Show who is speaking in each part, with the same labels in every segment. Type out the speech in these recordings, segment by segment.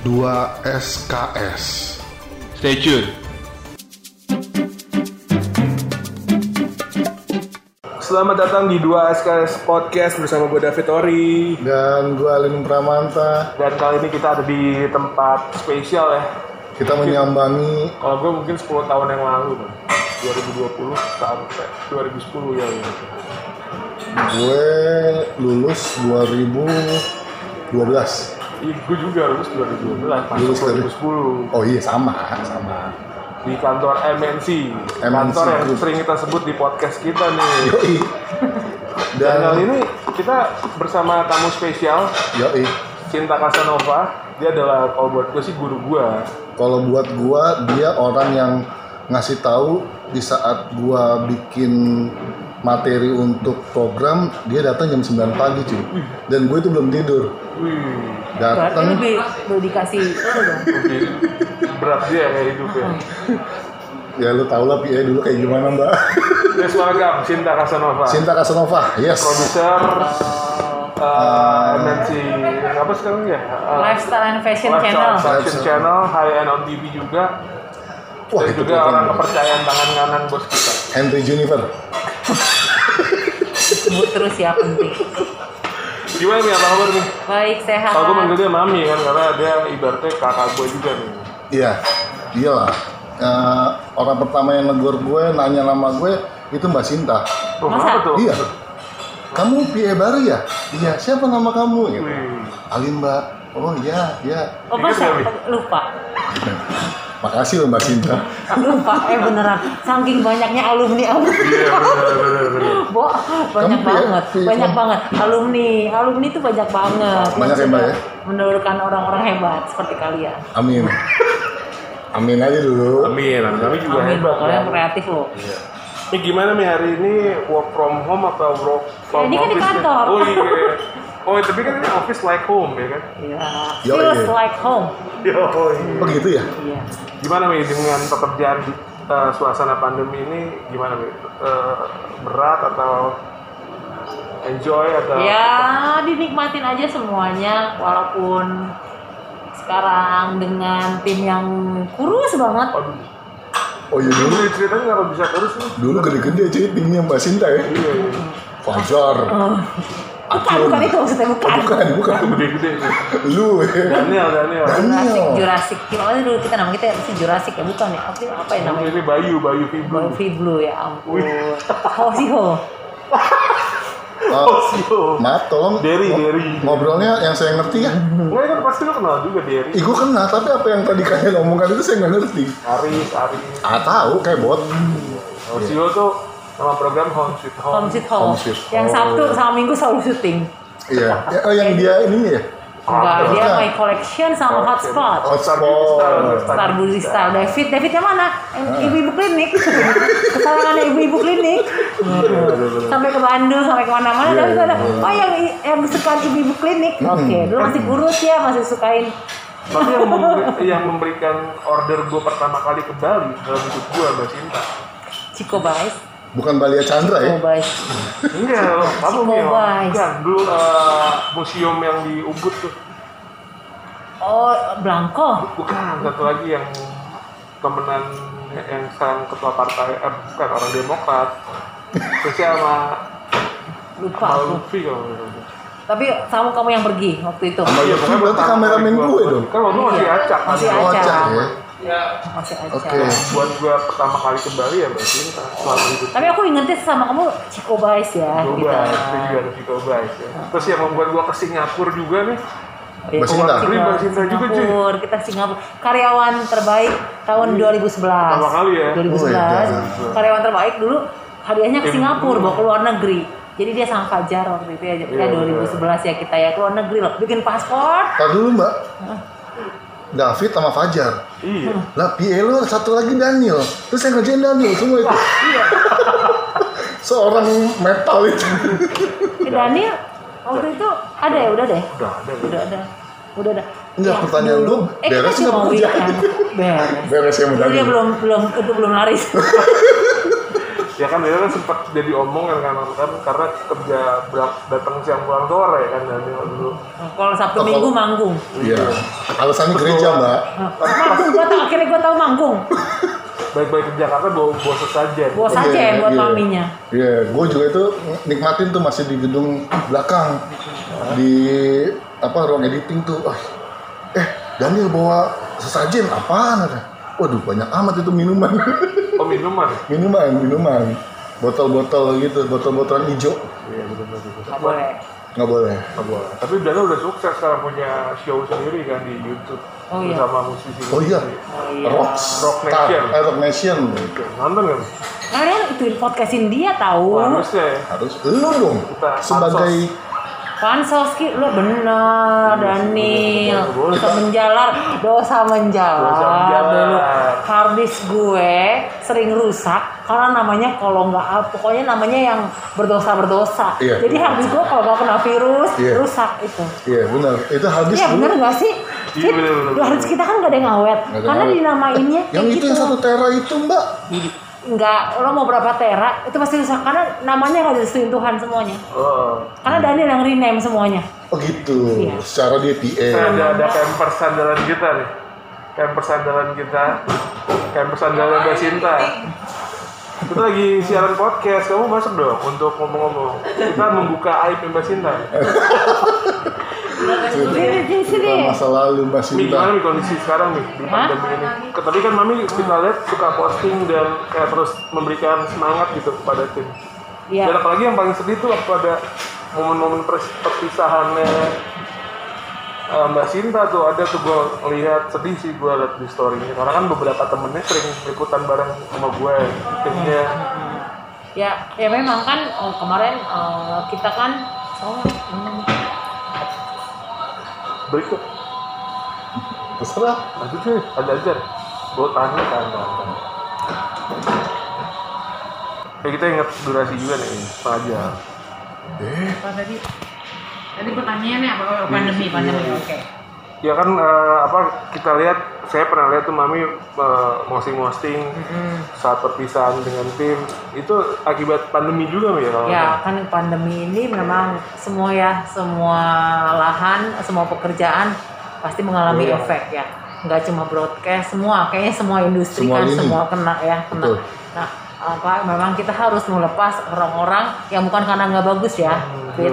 Speaker 1: 2 SKS.
Speaker 2: Stay tune.
Speaker 3: Selamat datang di 2 SKS Podcast bersama gue David Ori
Speaker 1: Dan gue Alin Pramanta.
Speaker 3: Dan kali ini kita ada di tempat spesial ya
Speaker 1: Kita menyambangi
Speaker 3: Kalau gue mungkin 10 tahun yang lalu Bang. 2020 sampai 2010 ya ya.
Speaker 1: gue lulus 2012.
Speaker 3: Iya, gue juga lulus 2012, masuk
Speaker 1: Lulus dari-
Speaker 3: 2010
Speaker 1: Oh iya sama, sama.
Speaker 3: Nah, di kantor MNC,
Speaker 1: MNC
Speaker 3: kantor yang
Speaker 1: Group.
Speaker 3: sering kita sebut di podcast kita nih.
Speaker 1: Yoi.
Speaker 3: Dan
Speaker 1: Dan
Speaker 3: kali ini kita bersama tamu spesial
Speaker 1: yoi.
Speaker 3: Cinta Casanova. Dia adalah kalau buat gue sih guru gue.
Speaker 1: Kalau buat gua dia orang yang ngasih tahu di saat gua bikin materi untuk program dia datang jam 9 pagi cuy dan gue itu belum tidur
Speaker 3: Wih,
Speaker 4: Berarti
Speaker 1: datang
Speaker 4: lebih lu dikasih itu dong.
Speaker 3: berat dia ya hidupnya.
Speaker 1: ya lu tau lah PA dulu kayak gimana mbak
Speaker 3: Please welcome Cinta Casanova,
Speaker 1: Cinta Casanova yes
Speaker 3: produser uh,
Speaker 1: Eh.
Speaker 3: MNC apa sekarang ya? Uh,
Speaker 4: Lifestyle and Fashion
Speaker 3: Lifestyle
Speaker 4: Channel.
Speaker 3: Fashion
Speaker 1: Lifestyle.
Speaker 3: Channel, High End on TV juga.
Speaker 1: wah
Speaker 3: dan
Speaker 1: itu
Speaker 3: juga
Speaker 1: keren
Speaker 3: orang
Speaker 1: banget.
Speaker 3: kepercayaan tangan kanan bos kita.
Speaker 1: Henry Juniper
Speaker 4: Sebut terus ya penting.
Speaker 3: Gimana nih apa kabar nih?
Speaker 4: Baik sehat.
Speaker 3: Kalau gue manggil dia mami kan karena dia ibaratnya kakak gue juga nih.
Speaker 1: iya iyalah Eh, orang pertama yang negor gue nanya nama gue itu Mbak Sinta
Speaker 3: Oh, kenapa
Speaker 4: Masa?
Speaker 3: tuh?
Speaker 1: iya kamu PA baru ya iya siapa nama kamu gitu.
Speaker 3: Wih,
Speaker 1: Alin mbak oh iya iya
Speaker 4: Oh, masa?
Speaker 3: Ingat nggak,
Speaker 4: lupa.
Speaker 1: makasih loh Mbak Sinta
Speaker 4: Lupa. Eh beneran. Saking banyaknya alumni alumni.
Speaker 3: Iya benar benar benar.
Speaker 4: Bo, banyak
Speaker 1: Kamu ya,
Speaker 4: banget.
Speaker 1: Fi,
Speaker 4: Banyak
Speaker 1: kamu-
Speaker 4: banget. Alumni, alumni itu banyak banget.
Speaker 1: Banyak
Speaker 4: Yang
Speaker 1: hebat
Speaker 4: sudah
Speaker 1: ya?
Speaker 4: Menelurkan orang-orang hebat seperti kalian.
Speaker 1: amin amin aja dulu
Speaker 3: Amin, kami juga
Speaker 4: Amin,
Speaker 3: hebat.
Speaker 4: kalian
Speaker 3: kan?
Speaker 4: kreatif loh.
Speaker 3: Ini gimana nih hari ini work from home atau work from
Speaker 4: ini kan di
Speaker 3: office nih?
Speaker 4: kantor.
Speaker 3: Oh iya. Oh tapi kan ini office like home ya kan?
Speaker 4: Iya.
Speaker 1: Yo,
Speaker 4: Feels
Speaker 1: iya.
Speaker 4: like home.
Speaker 3: Yo, iya.
Speaker 1: oh gitu ya
Speaker 4: Iya.
Speaker 3: Gimana Mi dengan pekerjaan di eh, suasana pandemi ini gimana Mi? Eh, berat atau enjoy atau
Speaker 4: Ya dinikmatin aja semuanya walaupun sekarang dengan tim yang kurus banget.
Speaker 3: Aduh,
Speaker 1: oh iya
Speaker 3: ini
Speaker 1: dulu
Speaker 3: dari ceritanya kenapa bisa terus nih?
Speaker 1: dulu gede-gede cuy timnya Mbak Sinta ya
Speaker 3: Iya, iya.
Speaker 1: Fajar
Speaker 4: Bukan, bukan itu maksudnya bukan.
Speaker 1: bukan bukan
Speaker 3: Gede-gede. nih.
Speaker 1: lu ya.
Speaker 3: Daniel, Daniel.
Speaker 4: Jurassic,
Speaker 1: Daniel
Speaker 4: Jurassic. Kita awalnya dulu kita namanya kita si Jurassic ya bukan ya. Apa, apa ya namanya?
Speaker 3: Ini Bayu, Bayu Fibro.
Speaker 4: Baru Blue ya ampun. Oh sih
Speaker 1: Oh, maaf tolong
Speaker 3: Derry,
Speaker 1: ngo-
Speaker 3: Derry.
Speaker 1: ngobrolnya yang saya ngerti ya
Speaker 3: Enggak, kan pasti lo kenal juga Derry.
Speaker 1: Ih, gue kenal, tapi apa yang tadi kalian omongkan itu saya nggak ngerti.
Speaker 3: Aris, Aris.
Speaker 1: Ah, tahu kayak bot.
Speaker 3: Kalau Sio tuh nama program Home Sweet Home.
Speaker 4: Home Sweet Home.
Speaker 1: Home Sweet
Speaker 4: oh. Yang
Speaker 1: Home.
Speaker 4: Sabtu sama Minggu selalu syuting.
Speaker 1: Iya. Ya, oh, yang dia ini ya.
Speaker 4: Enggak,
Speaker 3: Ah, Oh,
Speaker 4: dia
Speaker 1: bukan.
Speaker 4: my collection sama hotspot.
Speaker 3: Star
Speaker 1: Hotspot. Oh.
Speaker 3: Beauty Star, Star
Speaker 4: Star
Speaker 3: Beauty
Speaker 4: Bully Star David. David yang mana? Yang
Speaker 1: Ah.
Speaker 4: Ibu-ibu klinik. Kesalahannya ibu-ibu klinik. Sampai ke Bandung, sampai ke mana-mana.
Speaker 1: Iya,
Speaker 4: David ada. Oh yang i- yang suka ibu-ibu klinik.
Speaker 1: Hmm.
Speaker 4: Oke, dulu masih kurus ya, masih sukain.
Speaker 3: Tapi yang, memberi- yang memberikan order gue pertama kali ke Bali dalam hidup gue Mbak Cinta.
Speaker 4: Ciko Bais,
Speaker 1: Bukan Balia Chandra ya?
Speaker 4: Ciko Bais.
Speaker 3: Enggak, loh. kamu
Speaker 4: Ciko
Speaker 3: Mio.
Speaker 4: Boys.
Speaker 3: iya. Bukan, dulu eh, museum yang di Ubud tuh.
Speaker 4: Oh, Blanco.
Speaker 3: Bukan, satu lagi yang temenan yang sekarang ketua partai, eh, bukan orang Demokrat. Terusnya sama
Speaker 4: Lupa
Speaker 3: Pak
Speaker 4: aku.
Speaker 3: Lutfi kalau nggak salah.
Speaker 4: Tapi sama kamu yang pergi waktu itu.
Speaker 1: Sama
Speaker 3: Iya,
Speaker 1: Lutfi
Speaker 3: pokoknya
Speaker 1: berarti
Speaker 3: pertama
Speaker 1: kameramen
Speaker 3: kali
Speaker 1: gue dong.
Speaker 3: Kan waktu itu masih
Speaker 4: Iya,
Speaker 3: acak. kan?
Speaker 4: masih
Speaker 1: Oh,
Speaker 4: acak.
Speaker 1: acak ya.
Speaker 4: Masih aja.
Speaker 1: Oke.
Speaker 3: Buat gue pertama kali ke Bali ya Mbak Cinta. Selama hidup
Speaker 4: Tapi aku ingetnya sama kamu Ciko Bais ya.
Speaker 3: Gue
Speaker 4: gitu.
Speaker 3: bahas, itu juga harus dikobas ya. Terus yang membuat gue ke Singapura juga nih,
Speaker 4: Ya,
Speaker 1: Mbak Sinta.
Speaker 4: Singapura,
Speaker 3: Ini Mbak Sinta Iya, juga, cuy.
Speaker 4: Singapura, kita Singapura. Karyawan terbaik tahun 2011.
Speaker 3: Iya. Pertama kali ya?
Speaker 4: 2011.
Speaker 1: Oh, iya, Wih,
Speaker 4: karyawan terbaik dulu hadiahnya ke
Speaker 3: Tim-
Speaker 4: Singapura, bawa ke luar negeri. Jadi dia sama Fajar waktu itu ya, ya
Speaker 3: Iya,
Speaker 4: 2011 ya kita ya ke luar negeri loh, bikin paspor.
Speaker 1: Tadi dulu mbak. David sama Fajar.
Speaker 3: iya.
Speaker 1: Lah PA lu satu lagi Daniel. Terus yang ngerjain Daniel semua itu. Seorang metal itu.
Speaker 3: Iya.
Speaker 4: Eh, Daniel waktu itu ada ya udah deh,
Speaker 3: Udah ada. gitu.
Speaker 4: udah ada, udah ada.
Speaker 1: Enggak,
Speaker 4: Ya,
Speaker 1: pertanyaan lu
Speaker 4: Eh kita
Speaker 1: beres nggak
Speaker 4: cuma
Speaker 1: pekerjaan?
Speaker 4: weekend, beres.
Speaker 1: Beres ya, Mbak
Speaker 4: Dulu dia
Speaker 1: Daniel.
Speaker 4: belum belum itu belum laris.
Speaker 3: ya kan dia kan sempat jadi omongan kan kan karena kerja berang- datang siang pulang sore kan Daniel dulu
Speaker 4: Kalau Sabtu Minggu manggung.
Speaker 1: Iya. Alasannya gereja, Mbak.
Speaker 4: Manggung gua tahu akhirnya gua tahu manggung.
Speaker 3: baik-baik ke Jakarta bawa bawa sesajen
Speaker 4: Bos aja
Speaker 1: Iya,
Speaker 4: ya buat
Speaker 1: iya.
Speaker 4: maminya.
Speaker 1: Iya, gue juga itu nikmatin tuh masih di gedung belakang di apa ruang editing tuh. Ah, eh, Daniel bawa sesajen apaan ada? Waduh, banyak amat itu minuman.
Speaker 3: oh minuman
Speaker 1: minuman, minuman. Botol-botol gitu, botol-botolan hijau.
Speaker 3: iya benar-benar
Speaker 4: Nggak boleh.
Speaker 1: Nggak boleh.
Speaker 3: tapi Daniel udah sukses sekarang punya show sendiri kan di YouTube
Speaker 4: Oh, iya.
Speaker 3: bersama musisi
Speaker 1: Oh iya.
Speaker 4: Oh, iya.
Speaker 1: Rock,
Speaker 3: Rock
Speaker 1: Star,
Speaker 3: Nation.
Speaker 1: eh, Rock Nation.
Speaker 3: nonton
Speaker 4: Oh.
Speaker 3: kan
Speaker 4: Kalian ituin podcastin dia tahu.
Speaker 3: Wah, harusnya ya
Speaker 1: Harus lu dong
Speaker 3: Kita
Speaker 1: sebagai
Speaker 4: Pansos ki lo
Speaker 1: Iya,
Speaker 4: bener Daniel dosa menjalar dosa menjalar
Speaker 3: Dosa menjalar.
Speaker 4: dulu harddisk gue sering rusak karena namanya kalau nggak up, pokoknya namanya yang berdosa berdosa
Speaker 1: Iya.
Speaker 4: jadi harddisk gue kalau nggak kena virus
Speaker 1: Iya.
Speaker 4: rusak itu
Speaker 1: Iya benar. Itu habis
Speaker 4: Iya
Speaker 1: dulu.
Speaker 4: bener nggak sih?
Speaker 3: Iya,
Speaker 4: Fit,
Speaker 3: bener, bener,
Speaker 4: harddisk
Speaker 3: bener.
Speaker 4: kita kan nggak ada yang awet
Speaker 1: Nggak ada yang
Speaker 4: Karena
Speaker 1: awet.
Speaker 4: dinamainnya kayak
Speaker 1: Yang itu
Speaker 4: gitu
Speaker 1: yang satu tera itu, Mbak.
Speaker 4: Nggak, lo mau berapa tera Itu pasti rusak Karena namanya nggak disetuin Tuhan semuanya
Speaker 3: oh
Speaker 4: Karena Daniel yang rename semuanya
Speaker 1: Oh gitu.
Speaker 4: Iya.
Speaker 1: Secara dia
Speaker 3: Saya
Speaker 1: PM.
Speaker 3: ada ada campers sandalan kita nih. Campers sandalan kita. Campers sandalan Basinta. Kita lagi siaran podcast, kamu masuk dong untuk ngomong-ngomong. Kita membuka aib Mbak Sinta.
Speaker 4: Sini, sini, sini.
Speaker 1: masa lalu Mbak Sinta.
Speaker 3: Mi, gimana nih kondisi sekarang nih di pandemi ini? Tapi kan Mami kita lihat suka posting dan kayak terus memberikan semangat gitu kepada tim.
Speaker 4: Iya.
Speaker 3: Dan apalagi yang paling sedih tuh pada momen-momen pers- perpisahannya eh, Mbak Sinta tuh ada tuh gue lihat sedih sih gue lihat di storynya karena kan beberapa temennya sering liputan bareng sama gue timnya
Speaker 4: Ya, ya memang kan eh, kemarin eh, kita kan oh, hmm.
Speaker 3: berikut
Speaker 1: Terserah.
Speaker 3: lanjut sih ada aja gue tanya kan ya kita ingat durasi juga nih setengah jam
Speaker 1: Eh,
Speaker 4: apa tadi? Tadi pertanyaannya apa? Oh, pandemi, pandemi. Oke.
Speaker 3: ya kan eh, apa kita lihat saya pernah lihat tuh mami eh, posting-posting saat perpisahan dengan tim itu akibat pandemi juga Mi, ya kalau nggak
Speaker 4: Ya, kan pandemi ini memang semua ya, semua lahan, semua pekerjaan pasti mengalami
Speaker 3: Iya.
Speaker 4: efek ya. Nggak cuma broadcast, semua kayaknya semua industri
Speaker 1: Semua
Speaker 4: kan
Speaker 1: lini.
Speaker 4: semua kena ya, kena.
Speaker 1: Betul.
Speaker 4: Nah, apa memang kita harus melepas orang-orang yang bukan karena nggak bagus ya, Fit.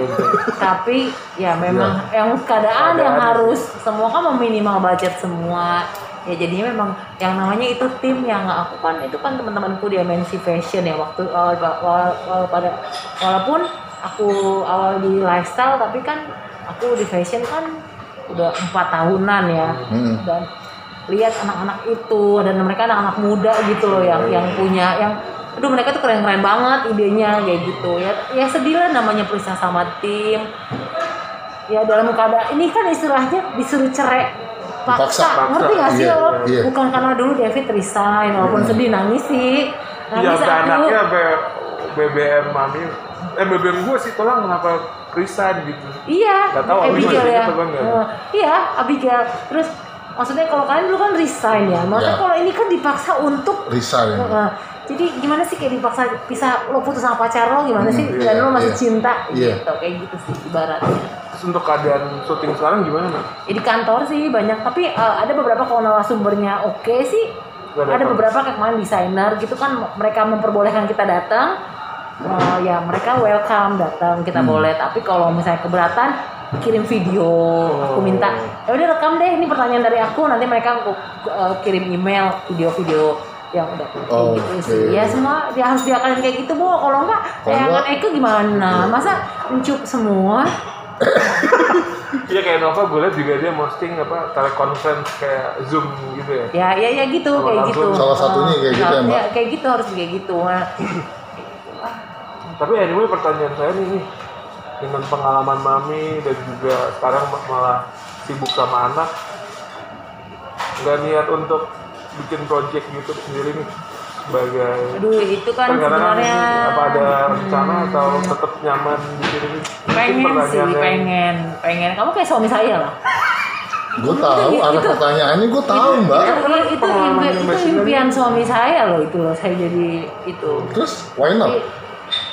Speaker 4: tapi ya memang yang keadaan yang
Speaker 3: Keadaan.
Speaker 4: harus semua kan meminimal budget semua ya jadinya memang yang namanya itu tim yang aku kan itu kan teman-temanku di MNC Fashion ya waktu awal, awal- awal pada walaupun aku awal di lifestyle tapi kan aku di fashion kan udah empat tahunan ya
Speaker 1: Hmm.
Speaker 4: dan lihat anak-anak itu dan mereka anak-anak muda gitu loh yang yang punya yang aduh mereka tuh keren-keren banget idenya kayak gitu ya ya sedih lah namanya perisah sama tim ya dalam keadaan ini kan istilahnya disuruh cerai
Speaker 1: Dipaksa,
Speaker 4: paksa,
Speaker 3: paksa.
Speaker 4: ngerti gak sih
Speaker 1: Iya,
Speaker 4: lo
Speaker 1: iya.
Speaker 4: bukan karena dulu David resign walaupun sedih nangis sih
Speaker 3: Iya,
Speaker 4: nangis
Speaker 3: sampai
Speaker 4: aku
Speaker 3: anaknya sampai BBM mami. Eh BBM gue sih tolong kenapa resign gitu.
Speaker 4: Iya,
Speaker 3: Nggak tahu,
Speaker 4: Abigail
Speaker 3: Abigail
Speaker 4: ya.
Speaker 3: apa enggak?
Speaker 4: Eh, iya, Abigail. Terus maksudnya kalau kalian dulu kan resign ya, maksudnya
Speaker 1: Ya.
Speaker 4: kalau ini kan dipaksa untuk
Speaker 1: Risa ya.
Speaker 4: eh, jadi gimana sih kayak dipaksa pisah lo putus sama pacar lo gimana sih
Speaker 1: iya,
Speaker 4: dan lo masih
Speaker 1: iya.
Speaker 4: cinta
Speaker 1: Iya.
Speaker 4: gitu kayak gitu sih ibaratnya.
Speaker 3: Terus untuk keadaan syuting sekarang gimana? Nak?
Speaker 4: Ya, di kantor sih banyak tapi eh, ada beberapa kalau narasumbernya oke sih
Speaker 3: Nggak
Speaker 4: ada
Speaker 3: datang.
Speaker 4: beberapa kayak kemarin desainer gitu kan mereka memperbolehkan kita datang eh, ya mereka welcome datang kita
Speaker 1: Hmm.
Speaker 4: boleh tapi kalau misalnya keberatan kirim video aku minta
Speaker 1: Oh.
Speaker 4: ya udah rekam deh ini pertanyaan dari aku nanti mereka aku eh, kirim email video-video yang udah kayak
Speaker 1: Oh,
Speaker 4: gitu sih
Speaker 1: oke.
Speaker 4: ya semua dia harus diakalin kayak gitu bu kalau enggak
Speaker 1: Kalau
Speaker 4: tayangan
Speaker 1: enggak- iya.
Speaker 4: Eko gimana masa mencup semua
Speaker 3: Iya kayak Nova gue liat juga dia posting apa telekonferensi kayak Zoom gitu ya.
Speaker 4: ya ya ya gitu
Speaker 3: Sama
Speaker 4: kayak
Speaker 3: langsung.
Speaker 4: gitu
Speaker 1: Salah satunya kayak gitu ya,
Speaker 4: Nah,
Speaker 1: Mbak?
Speaker 4: kayak gitu harus kayak gitu Nah,
Speaker 3: Tapi anyway pertanyaan saya nih nih, dengan pengalaman mami dan juga sekarang malah sibuk sama anak nggak niat untuk bikin project YouTube sendiri nih sebagai
Speaker 4: aduh itu kan
Speaker 3: Kadang-kadang
Speaker 4: sebenarnya
Speaker 3: apa ada rencana atau tetap nyaman di sini? Mungkin
Speaker 4: pengen sih
Speaker 3: pertanyaan yang-
Speaker 4: pengen pengen kamu kayak suami saya lah
Speaker 1: Gue tahu
Speaker 4: Itu-
Speaker 1: arah
Speaker 4: itu-
Speaker 1: pertanyaannya gue tahu mbak.
Speaker 4: Iya, Itu, itu,
Speaker 3: Pengalaman
Speaker 4: impi- itu
Speaker 3: Mbak Sinta
Speaker 4: impian suami saya loh itu loh saya jadi itu.
Speaker 1: Terus why not?
Speaker 4: Jadi,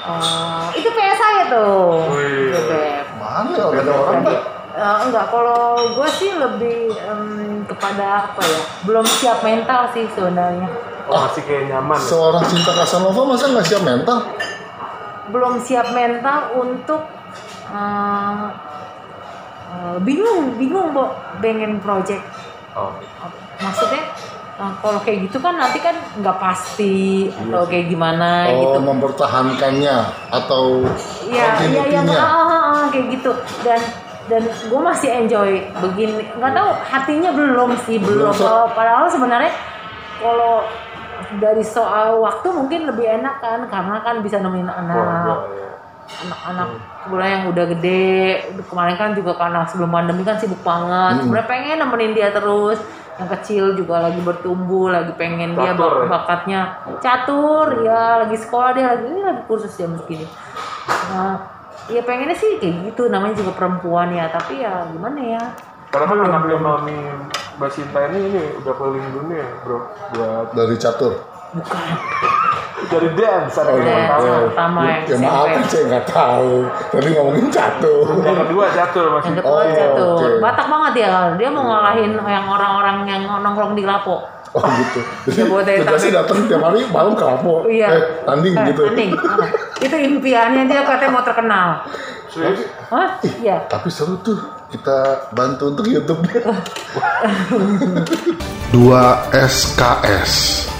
Speaker 4: eh, itu PS saya tuh.
Speaker 3: Wih.
Speaker 4: Gitu, Beb.
Speaker 1: Mana ya ada orang mbak?
Speaker 4: Eh, enggak, kalau gue sih lebih em, kepada apa ya? Belum siap mental sih sebenarnya.
Speaker 3: Oh, masih kayak nyaman. ya?
Speaker 1: Seorang cinta Casanova masa nggak siap mental?
Speaker 4: Belum siap mental untuk eh, eh, bingung, bingung kok pengen project.
Speaker 3: oh.
Speaker 4: Maksudnya eh, kalau kayak gitu kan nanti kan nggak pasti atau kayak gimana
Speaker 1: Oh
Speaker 4: gitu.
Speaker 1: mempertahankannya atau
Speaker 4: Iya, iya, iya,
Speaker 1: continuity-nya?
Speaker 4: ah, ah, ah, kayak gitu. Dan dan gue masih enjoy begini. Nggak tahu hatinya belum sih,
Speaker 1: Belum,
Speaker 4: belum.
Speaker 1: so-
Speaker 4: Kalau- Padahal sebenarnya kalau dari soal waktu mungkin lebih enak kan, karena kan bisa nemenin
Speaker 3: Wah,
Speaker 4: anak,
Speaker 3: ya.
Speaker 4: anak-anak kebetulan yang udah gede. Kemarin kan juga karena sebelum pandemi kan sibuk banget. Sebenarnya pengen nemenin dia terus. Yang kecil juga lagi bertumbuh, lagi pengen dia
Speaker 3: Catur,
Speaker 4: bak-
Speaker 3: ya?
Speaker 4: bakatnya catur, ya lagi sekolah dia lagi ini lagi kursus jam segini. Nah, ya pengennya sih kayak gitu, namanya juga perempuan ya, tapi ya gimana ya?
Speaker 3: Karena kan anaknya mami Mbak Sinta ini, ini udah keliling dunia, bro. Buat
Speaker 1: Dari catur.
Speaker 4: Bukan
Speaker 3: dari dance, ada
Speaker 1: Oh, iya.
Speaker 3: yang pertama.
Speaker 4: yang pertama yang
Speaker 1: Ya maaf
Speaker 4: SMP.
Speaker 1: saya nggak tahu. Tadi ngomongin catur.
Speaker 3: Yang kedua jatuh masih.
Speaker 4: Yang kedua
Speaker 1: Oh,
Speaker 4: catur,
Speaker 1: oke.
Speaker 4: batak banget ya, dia mau ngalahin yang orang-orang yang nongkrong di lapo.
Speaker 1: Oh gitu. Jadi
Speaker 4: Ya, buat dari
Speaker 1: tugasnya
Speaker 4: tanding.
Speaker 1: datang tiap hari malam ke Lapo.
Speaker 4: Iya.
Speaker 1: Eh, tanding
Speaker 4: Eh,
Speaker 1: gitu.
Speaker 4: tanding. Ah, itu impiannya dia katanya mau terkenal.
Speaker 3: Serius?
Speaker 4: Hah? Iya.
Speaker 1: Tapi seru tuh kita bantu untuk YouTube
Speaker 2: 2SKS